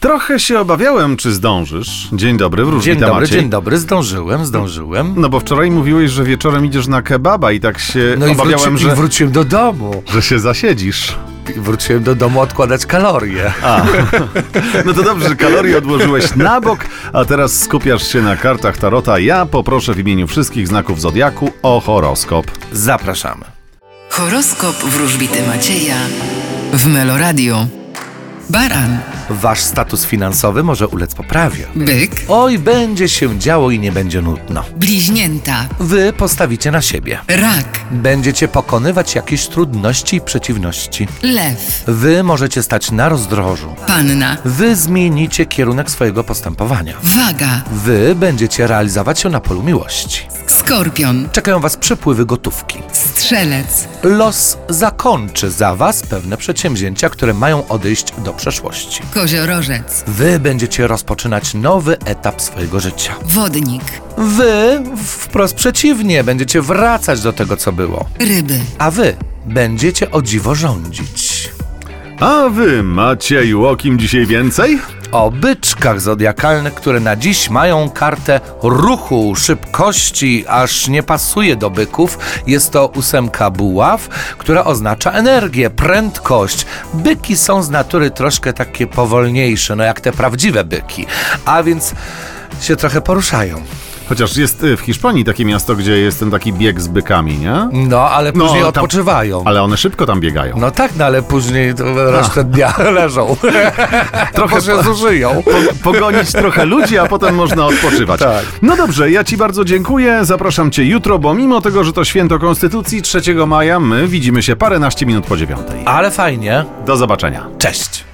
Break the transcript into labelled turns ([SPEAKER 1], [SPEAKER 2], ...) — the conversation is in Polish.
[SPEAKER 1] Trochę się obawiałem, czy zdążysz. Dzień dobry, wróżbita
[SPEAKER 2] Dzień dobry,
[SPEAKER 1] Maciej.
[SPEAKER 2] dzień dobry, zdążyłem, zdążyłem.
[SPEAKER 1] No bo wczoraj mówiłeś, że wieczorem idziesz na kebaba i tak się
[SPEAKER 2] No i,
[SPEAKER 1] obawiałem,
[SPEAKER 2] wróci,
[SPEAKER 1] że,
[SPEAKER 2] i wróciłem do domu.
[SPEAKER 1] że się zasiedzisz.
[SPEAKER 2] I wróciłem do domu odkładać kalorie.
[SPEAKER 1] No to dobrze, że kalorie odłożyłeś na bok, a teraz skupiasz się na kartach Tarota. Ja poproszę w imieniu wszystkich znaków Zodiaku o horoskop.
[SPEAKER 2] Zapraszamy.
[SPEAKER 3] Horoskop wróżbity Macieja w Meloradio. Baran,
[SPEAKER 2] Wasz status finansowy może ulec poprawie.
[SPEAKER 3] byk,
[SPEAKER 2] Oj, będzie się działo i nie będzie nudno.
[SPEAKER 3] bliźnięta,
[SPEAKER 2] Wy postawicie na siebie.
[SPEAKER 3] rak,
[SPEAKER 2] Będziecie pokonywać jakieś trudności i przeciwności.
[SPEAKER 3] lew,
[SPEAKER 2] Wy możecie stać na rozdrożu.
[SPEAKER 3] panna,
[SPEAKER 2] Wy zmienicie kierunek swojego postępowania.
[SPEAKER 3] waga,
[SPEAKER 2] Wy będziecie realizować się na polu miłości.
[SPEAKER 3] skorpion,
[SPEAKER 2] Czekają Was przepływy gotówki.
[SPEAKER 3] strzelec,
[SPEAKER 2] Los zakończy za Was pewne przedsięwzięcia, które mają odejść do przeszłości.
[SPEAKER 3] koziorożec,
[SPEAKER 2] Wy będziecie rozpoczynać nowy etap swojego życia.
[SPEAKER 3] wodnik,
[SPEAKER 2] Wy, wprost przeciwnie, będziecie wracać do tego, co było.
[SPEAKER 3] ryby.
[SPEAKER 2] A Wy będziecie o dziwo rządzić.
[SPEAKER 1] A wy, Macieju, o kim dzisiaj więcej?
[SPEAKER 2] O byczkach zodiakalnych, które na dziś mają kartę ruchu, szybkości, aż nie pasuje do byków. Jest to ósemka buław, która oznacza energię, prędkość. Byki są z natury troszkę takie powolniejsze, no jak te prawdziwe byki, a więc się trochę poruszają.
[SPEAKER 1] Chociaż jest y, w Hiszpanii takie miasto, gdzie jest ten taki bieg z bykami, nie?
[SPEAKER 2] No, ale
[SPEAKER 1] No,
[SPEAKER 2] później
[SPEAKER 1] tam-
[SPEAKER 2] odpoczywają.
[SPEAKER 1] Ale one szybko tam biegają.
[SPEAKER 2] No tak, no ale później to resztę dnia leżą. Trochę się zużyją.
[SPEAKER 1] po, pogonić trochę ludzi, a potem można odpoczywać.
[SPEAKER 2] Tak.
[SPEAKER 1] No dobrze, ja Ci bardzo dziękuję. Zapraszam Cię jutro, bo mimo tego, że to święto Konstytucji 3 maja, my widzimy się paręnaście minut po dziewiątej.
[SPEAKER 2] Ale fajnie.
[SPEAKER 1] Do zobaczenia.
[SPEAKER 2] Cześć.